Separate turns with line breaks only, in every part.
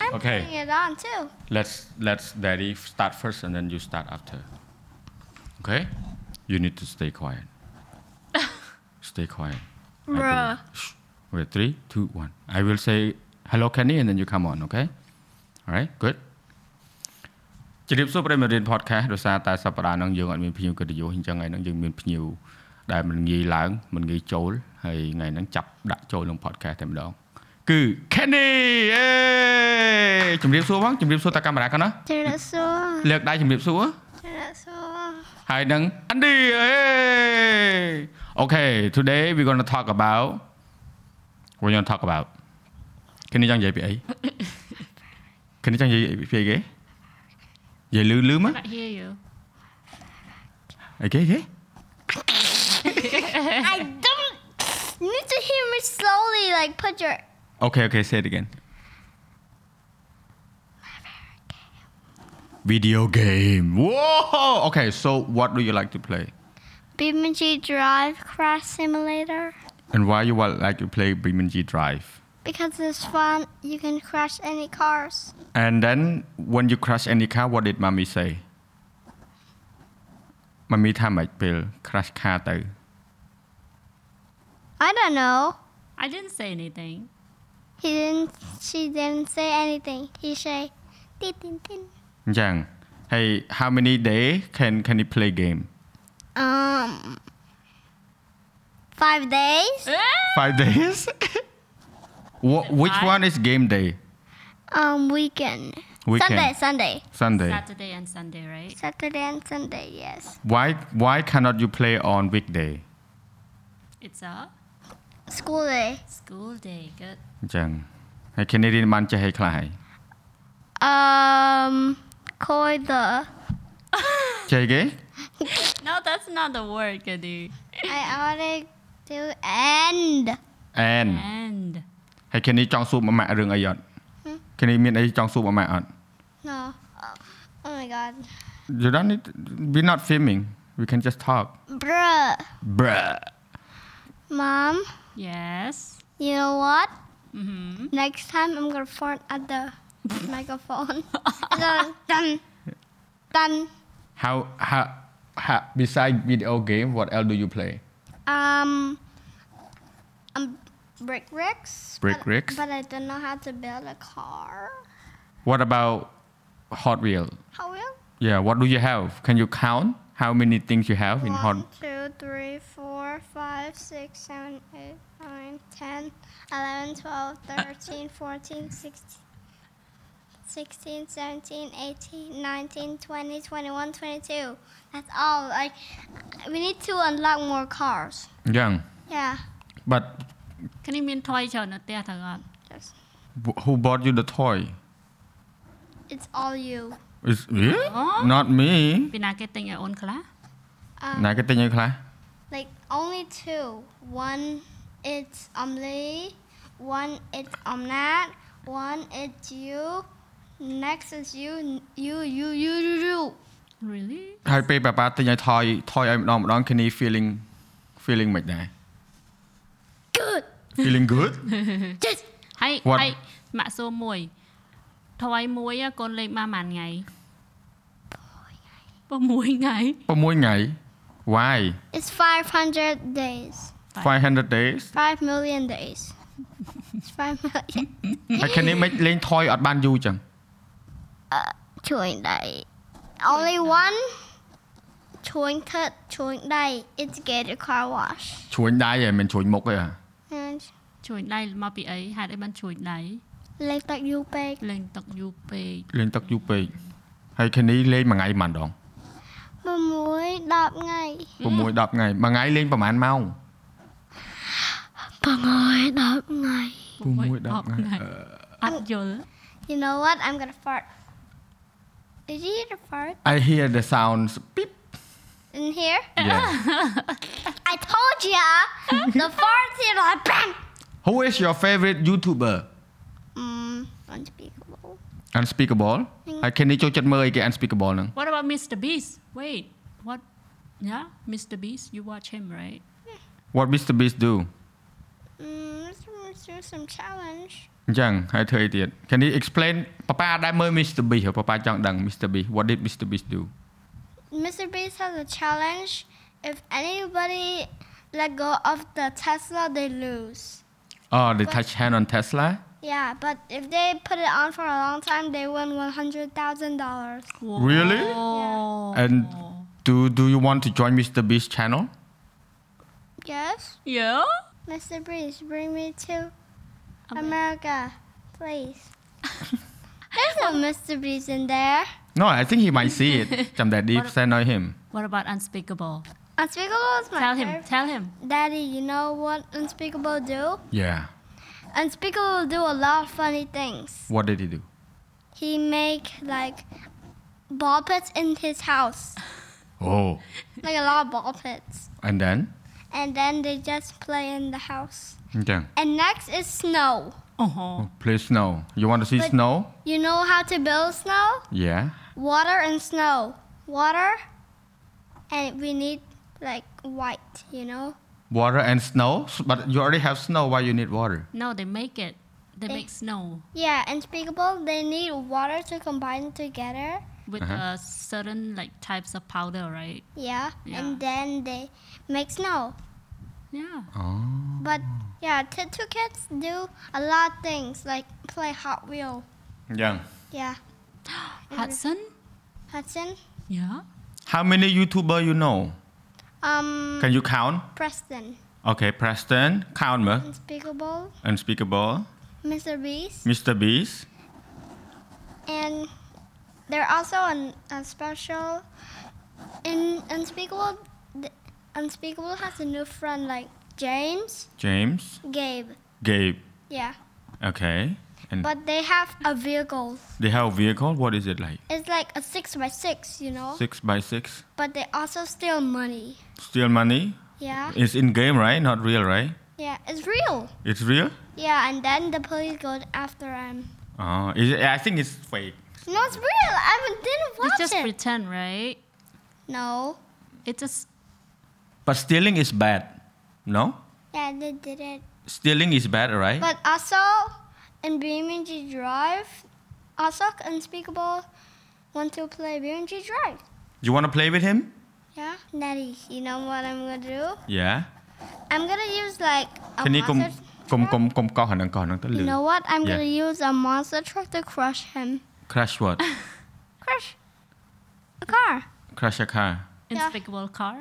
I'm
Okay.
putting it on too.
Let's let's daddy start first and then you start after. Okay? You need to stay quiet. stay quiet. I do it.
Bruh.
Shh. Wait, three, two, one. I will say hello Kenny and then you come on, okay? All right, good. ជម្រាបសួរប្រិយមិត្តរៀន podcast ដោយសារតែសប្តាហ៍ហ្នឹងយើងអត់មានភ្ញៀវកិត្តិយសអញ្ចឹងថ្ងៃហ្នឹងយើងមានភ្ញៀវដែលមិនងាយឡើងមិនងាយចូលហើយថ្ងៃហ្នឹងចាប់ដាក់ចូលក្នុង podcast តែម្ដងគឺ Kenny អេជម្រាបសួរបងជម្រាបសួរតាកាមេរ៉ាកោះណា
Dinosaur.
លើកដៃជំរាបសួរ
Dinosaur.
ហើយនឹង Andy អេ Okay today we going to talk about we going to talk about គ្នាចង់និយាយពីអីគ្នាចង់និយាយពីអីគេនិយាយលឺលឺមក
Cannot hear you.
អីគេគេ
I don't. You need to hear me slowly. Like put your.
Okay okay say it again video game whoa okay so what do you like to play
Bimiji Drive Crash Simulator.
and why you want- like to play Biminji Drive
Because it's fun. You can crash any cars.
And then when you crash any car what did mommy say ម៉ាមីថាម៉េចពេល crash car ទៅ
I don't know.
I didn't say anything.
He didn't. She didn't say anything. He say, "Tin tin tin."
អញ្ចឹង Hey how many day can can you play game
Um. Five days.
5 days Wh- which
Five?
one is game day
Um, weekend.
Weekend.
Sunday, Sunday,
Sunday
Saturday and Sunday, right?
Saturday and Sunday. Yes.
why why cannot you play on weekday
It's a
School day.
school day. Good.
អញ្ចឹងហើយគ្នារៀនបានចេះឲ្យខ្លះហើយ
Um, koi the.
ចេះគេ
No, that's not the word, Kadi.
I wanted to end.
and
And
ហើយគ្នាចង់សួរម៉ាម៉ាក់រឿងអីអត់គ្នាមានអីចង់សួរម៉ាម៉ាក់អត់
No. Oh, oh my god.
You don't need we're not filming we can just talk
Bruh.
bruh
Mom,
yes.
you know what?
Mm-hmm.
Next time I'm gonna phone at the microphone. So, dun, dun.
how how how besides video game what else do you play
Um, um, brick bricks.
Brick
but-
bricks?
But I don't know how to build a car.
what about hot wheel
How will?
yeah what do you have can you count how many things you have in hot
One, two, three, four, five, six, seven, eight, nine, 10, 11, 12, 13, 14, 16, 16, 17, 18, 19, 20, 21, 22. That's all. Like, we need to unlock more cars.
young
Yeah.
but
Can you mean toy cho nó tia thằng con?
Just,
wh- who bought you the toy
it's all you.
is yeah?
Huh?
not me
Vì nào cái tình ở ôn class?
Um,
ណាគេទិញឲ្យខ្លះ
Like, only two. One, it's Omli. One, it's Omnat. One, it's you. Next is you. You, you, you, you, you.
Really?
ហើយពេលប៉ាប៉ាទិញឲ្យថយថយឲ្យម្ដងម្ដងគ្នា feeling feeling មិនដែរ
Good.
feeling good
Yes.
Hay
What?
hay mạ số mùi. Toy mùi á, con lên ba màn ngày. Ba mùi ngày.
6ថ្ងៃ why
It's 500 days.
500 days
5 million days. It's 5 million.
ហើយគ្នាមិនលេងថយអត់បានយូរចឹង
Uh, chewing day. Only one chewing cut, chewing day. It's gated car wash.
ជ្រួញដៃឯងមិនជ្រួញមុខទេអា
And
Chuột đây mà bị ấy, hạt ấy ban chuột đấy.
like that you bake
Lên tộc UP.
លេងទឹកយូរពេកហើយគ្នានេះលេងមួយថ្ងៃប៉ុន្មានដង
Mamoy, dap ngay.
6 10ថ្ងៃមួយថ្ងៃលេងប្រហែលម៉ោង
Mamoy, dap ngay.
Bố
mùi
mùi
đọc
đọc
ngay.
ngay. Ắt vô.
You know what? I'm gonna fart. Did you hear the fart
I hear the sound beep
in here?
yeah
I told ya! the fart's here, like bang!
who is your favorite youtuber
Mm, unspeakable.
unspeakable ហើយគ្នានេះចូលចិត្តមើលអីគេ unspeakable ហ្នឹង
What about Mr. Beast? Wait, what? Yeah, Mr. Beast, you watch him, right?
what Mr Beast do
Mm, let's, let's do some challenge.
អញ្ចឹងហើយធ្វើអីទៀត Can you explain ប៉ាប៉ាដែលមើល Mr Beast ហើយប៉ាប៉ាចង់ដឹង Mr Beast what did Mr Beast do
Mr. Beast has a challenge. If anybody let go of the Tesla, they lose.
Oh they touch hand on Tesla
Yeah, but if they put it on for a long time, they win one hundred thousand dollars.
Really?
Wow.
And- do do you want to join Mr Beast channel
Yes,
yeah.
Mr. Beast, bring me to
Oh,
America, please. There's no Mr. Beast in there.
No I think he might see it ចាំតែ deep send on him
What about unspeakable?
Unspeakable is my
Tell him.
favorite.
Tell him.
Daddy, you know what Unspeakable do?
Yeah
Unspeakable do a lot of funny things.
what did he do
He make like ball pits in his house,
Oh
like a lot of ball pits,
and then
and then they just play in the house.
អញ្ចឹង
And next is snow.
Oh.
play snow you want to see
But-
snow
You know how to build snow?
yeah
Water and snow. Water, and we need like white. You know?
water and snow but you already have snow why you need water
No, they make it. They
They-
make snow
Yeah. Unspeakable. They need water to combine together.
with
Uh-huh.
uh, certain like types of powder, right?
Yeah.
Yeah.
And then they make snow.
Yeah.
oh
But yeah, tattoo kids do a lot of things like play Hot Wheel.
អញ្ចឹង
Yeah.
Hudson.
Hudson.
Yeah.
How many YouTuber you know
Um.
can you count
Preston.
Okay Preston count មើល
Unspeakable.
Unspeakable
Mr. Beast.
Mr Beast
And they're also an, a special. In Unspeakable, th- Unspeakable has a new friend like James,
James
Gabe.
Gabe
Yeah,
Okay and
but they have a vehicle.
they have a vehicle what is it like
It's like a six by six, you know.
6 by 6
But they also steal money.
steal money
Yeah,
it's in game right not real right
yeah, it's real.
it's real
Yeah, and then the police go after him.
oh is it, I think it's fake
No, it's real. I haven't- didn't watch
It's just
it.
pretend, right?
no.
It's just
but stealing is bad no
Yeah, they did it.
stealing is bad right
But also, in BMG Drive, also Unspeakable want to play BMG Drive.
you want to play with him
Yeah, Natty, you know what I'm gonna do?
yeah
I'm gonna use like a
ខាងនេះកុំ
monster.
កុំកុំកុំកោះអាហ្នឹងកោះហ្នឹងទៅលឺ
You know what? I'm
Yeah.
gonna use a monster truck to crush him.
crash what
Crush a car.
crash a car
Yeah.
unspeakable car.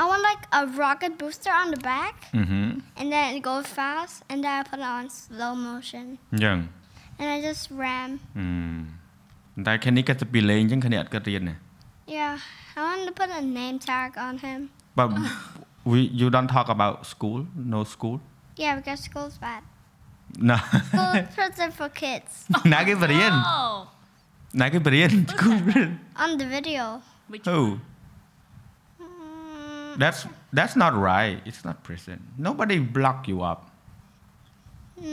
I want like a rocket booster on the back,
អឺហឹម
and then it goes fast, and then I put it on slow motion,
អញ្ចឹង
and I just ram.
អឺតែខាងនេះគាត់ទៅពីលេងអញ្ចឹងខាងនេះអត់គាត់រៀនទេ
Yeah, I want to put a name tag on him.
But we you don't talk about school, no school.
Yeah, because school's bad.
No.
School prison for kids.
ណាគេបរៀន
Oh.
ណាគេបរៀន school បរៀន
On the video.
Which
Who?
Mm,
That's that's not right. It's not prison. Nobody block you up.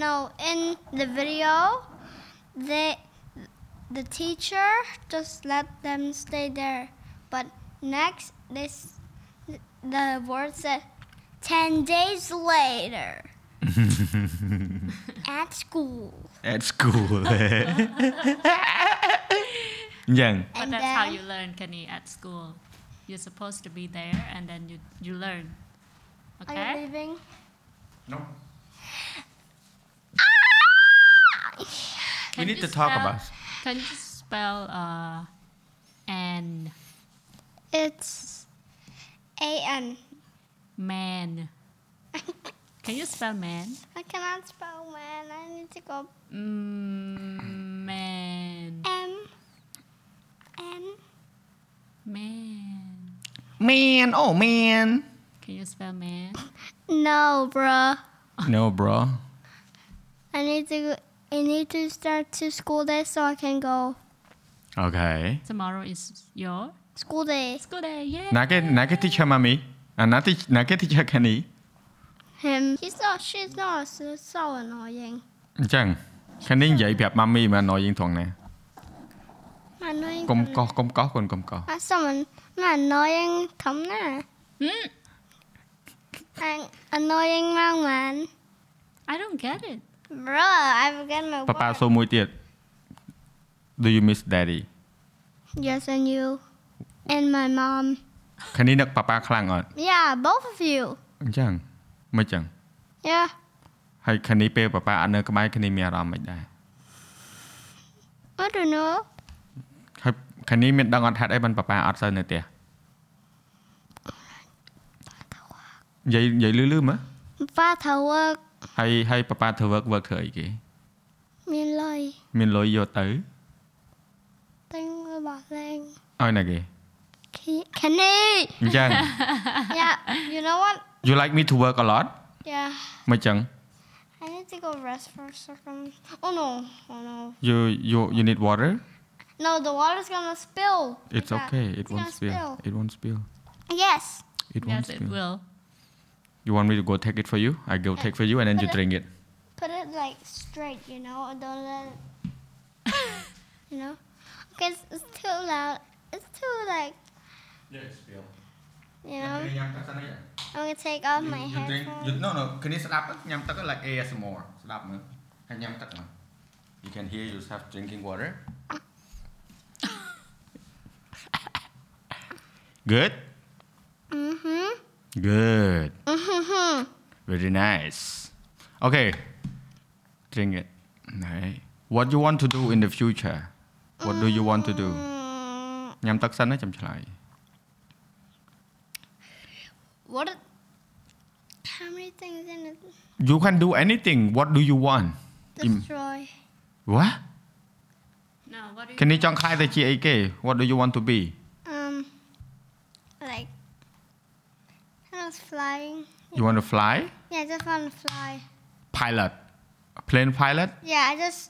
no, in the video, they, the teacher just let them stay there. But next, this, the word said, 10 days later. at school.
At school. អញ្ចឹង
But
And
that's how
then-
you learn, Kenny, at school. You're supposed to be there and then you, you learn.
Are you
Okay?
leaving?
No. We
Can
need
you
to talk
spell-
about.
Can you spell uh, and
It's A-N.
man? Can you spell man?
I cannot spell man. I need to go
Mm, man.
M M
Man.
Man, oh man.
Can you spell man?
No, bruh.
No, bro.
I need to. I need to start to school day so I can go.
Okay.
Tomorrow is your
School day.
school day. Yeah.
ណាគេណាគេ teacher mommy. អាណាទីណាគេ teacher ខាងនេះ
Him. He's not. She's not. So, so annoying.
អញ្ចឹងខាងនេះនិយាយប្រាប់ mommy មកណយយើងត្រង់ណា
Annoying.
កុំកោះកុំកោះកូនកុំកោះ
I someone. I'm annoying. Come na.
Hmm?
I'm annoying man man.
I don't get it.
Bro, I forgot my
ប៉ាប៉ា
word.
សួរមួយទៀត Do you miss daddy
Yes, and you. And my mom.
ខាងនេះនឹកប៉ាប៉ាខ្លាំងអត់
Yeah, both of you.
អញ្ចឹងមិនអញ្ចឹង
Yeah.
ហើយខាងនេះពេលប៉ាប៉ាអត់នៅក្បែរខាងនេះមានអារម្មណ៍មិនដែរ
I don't know.
ហើយខាងនេះមានដឹងអត់ហេតុអីបានប៉ាប៉ាអត់សូវនៅផ្ទះនិយាយនិយាយលឺលឺមើល
Father work
ហើយហើយប៉ាប៉ាធ្វើ work work ធ្វើអីគេ
mean like
មានលុយយកទៅ
think about thing.
ឲ្យណាគេ
Kenny.
អញ្ចឹង
yeah. You know what?
you like me to work a lot
Yeah.
មិនអញ្ចឹង
I need to go rest for a second. Oh no. Oh no.
you you you need water
No, the water's gonna spill.
it's
Yeah,
okay it
it's
won't
gonna
spill it won't spill
Yes.
it won't
Yes, it
spill
will.
you want me to go take it for you i go take for you and then you drink it
Put it like straight, you know, and don't let it. you know? Because it's too loud. It's too, like,
yes spill
you know? I'm gonna take off my headphones.
no no គ្នាស្ដាប់ញ៉ាំទឹក like ASMR ស្ដាប់មើលហើយញ៉ាំទឹកមក you can hear yourself drinking water good
Mm
Good.
hmm. Mm hmm.
Very nice. Okay. Drink it. Right. What you want to do in the future? What do you want to
Mm.
do? ញ៉ាំទឹកសិនណាចាំឆ្លើយ
What? a- How many things in it?
You can do anything. What do you want? Im-
Destroy.
What?
Now, what do you
គ្នាចង់ខ្លាយទៅជាអីគេ What do you want to be?
Um, like, I was flying.
You want to fly?
Yeah, I just want to fly.
Pilot. Plane pilot?
Yeah, I just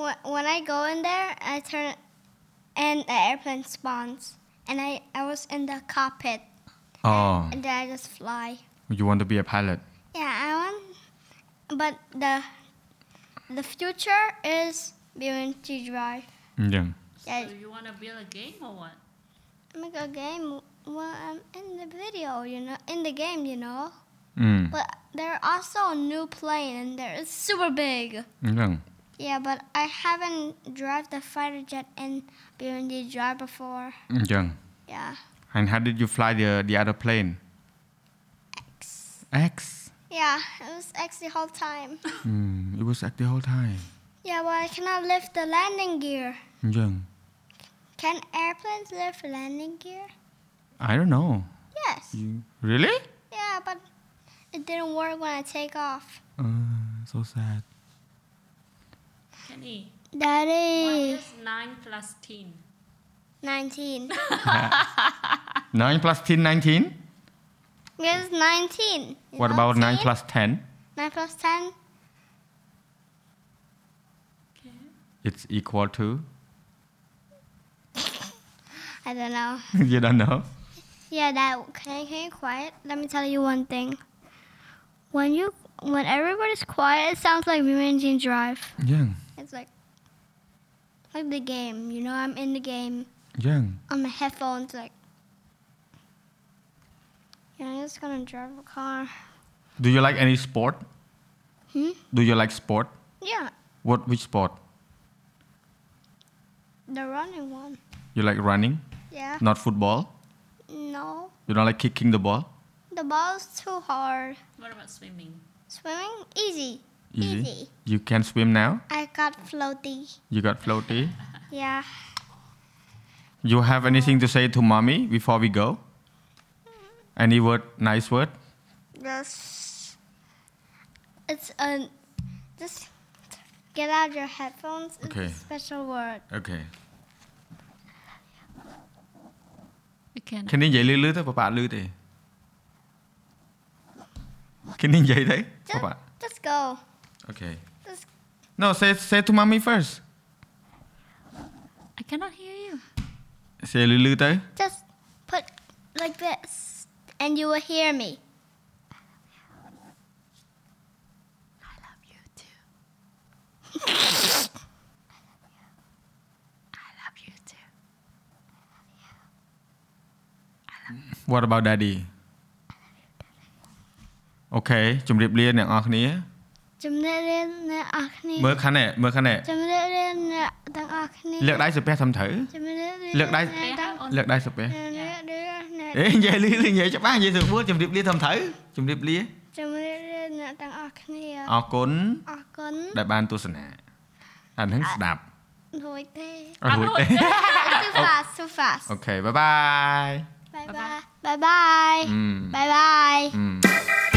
when, when I go in there, I turn and the airplane spawns, and I I was in the cockpit,
Oh,
and then I just fly.
you want to be a pilot.
Yeah, I want, but the the future is being to drive.
អញ្ចឹង
Yeah,
So you want to build a game or what?
make a game. Well, I'm in the video, you know, in the game, you know.
អឺ
But there are also a new plane, and there is super big.
អញ្ចឹង
Yeah, but I haven't drive the fighter jet in BMD drive before.
អញ្ចឹង
Yeah.
And how did you fly the the other plane?
X.
X.
Yeah, it was X the whole time.
Mm, it was like the whole time.
yeah, but I cannot lift the landing gear.
អញ្ចឹង
Can airplanes lift landing gear?
I don't know.
Yes.
You really?
Yeah, but it didn't work when I take off.
Uh, so sad.
Kenny, what
Daddy.
is 9 plus 10?
19.
9 plus 10 19?
Yes, 19. You
What
know,
about 9
10?
plus 10?
9 plus 10?
It's equal to
I don't know.
You don't know.
Yeah, that can you, can you quiet? Let me tell you one thing. When you when everybody's quiet, it sounds like Remington Drive.
អញ្ចឹង
It's like like the game, you know. I'm in the game
អញ្ចឹង
on my headphones, like. Yeah, I'm just gonna drive a car.
Do you like any sport?
Hmm?
Do you like sport?
Yeah,
What which sport?
the running one.
You like running,
Yeah.
not football?
No,
You don't like kicking the ball?
the ball's too hard.
What about swimming?
Swimming easy. Easy.
You can swim now?
I got floaty.
You got floaty?
Yeah.
You have anything to say to mommy before we go? Any word, nice word?
Yes. It's a. Just get out your headphones. It's
Okay.
a special word.
Okay.
We can.
គ្នានិយាយលឺលឺទៅប៉ាប៉ាលឺទេគ្នានិយាយទៅប៉ា
Just,
ប៉ា
just go.
អូខេ
Just
No say say to mommy first
I cannot hear you.
say លឺលឺទៅ
just put like this, and you will hear me.
I love you too. I love you too.
What about daddy អូខេជម្រាបលាអ្នកនរអស់គ្នា
ជំរាបលាអ្នកអរគ្នា
មើលខាងនេះមើលខាងនេះ
ជំរាបលាអ្នកទាំងអស់គ្នា
លើកដៃសំពះត្រឹមត្រូវ
ជំរាបលា
លើកដៃ
អ្នកទាំងអស់
លើកដៃសំ
គ្នា
ពះ
ជំរាបលាអ្នក
អេនិយាយលឺលឺនិយាយច្បាស់និយាយស្រួលជំរាបលាត្រឹមត្រូវជំរាបលា
ជំរាបលាអ្នកទាំងអស់គ្នា
អរគុណ
អរគុណ
ដែលបានទស្សនាអាហ្នឹងស្ដាប់
រួចទេ
អរគុណទេ
too fast too fast
អូខេបាយបាយ
bye bye bye bye
អឺ
bye bye
អឺ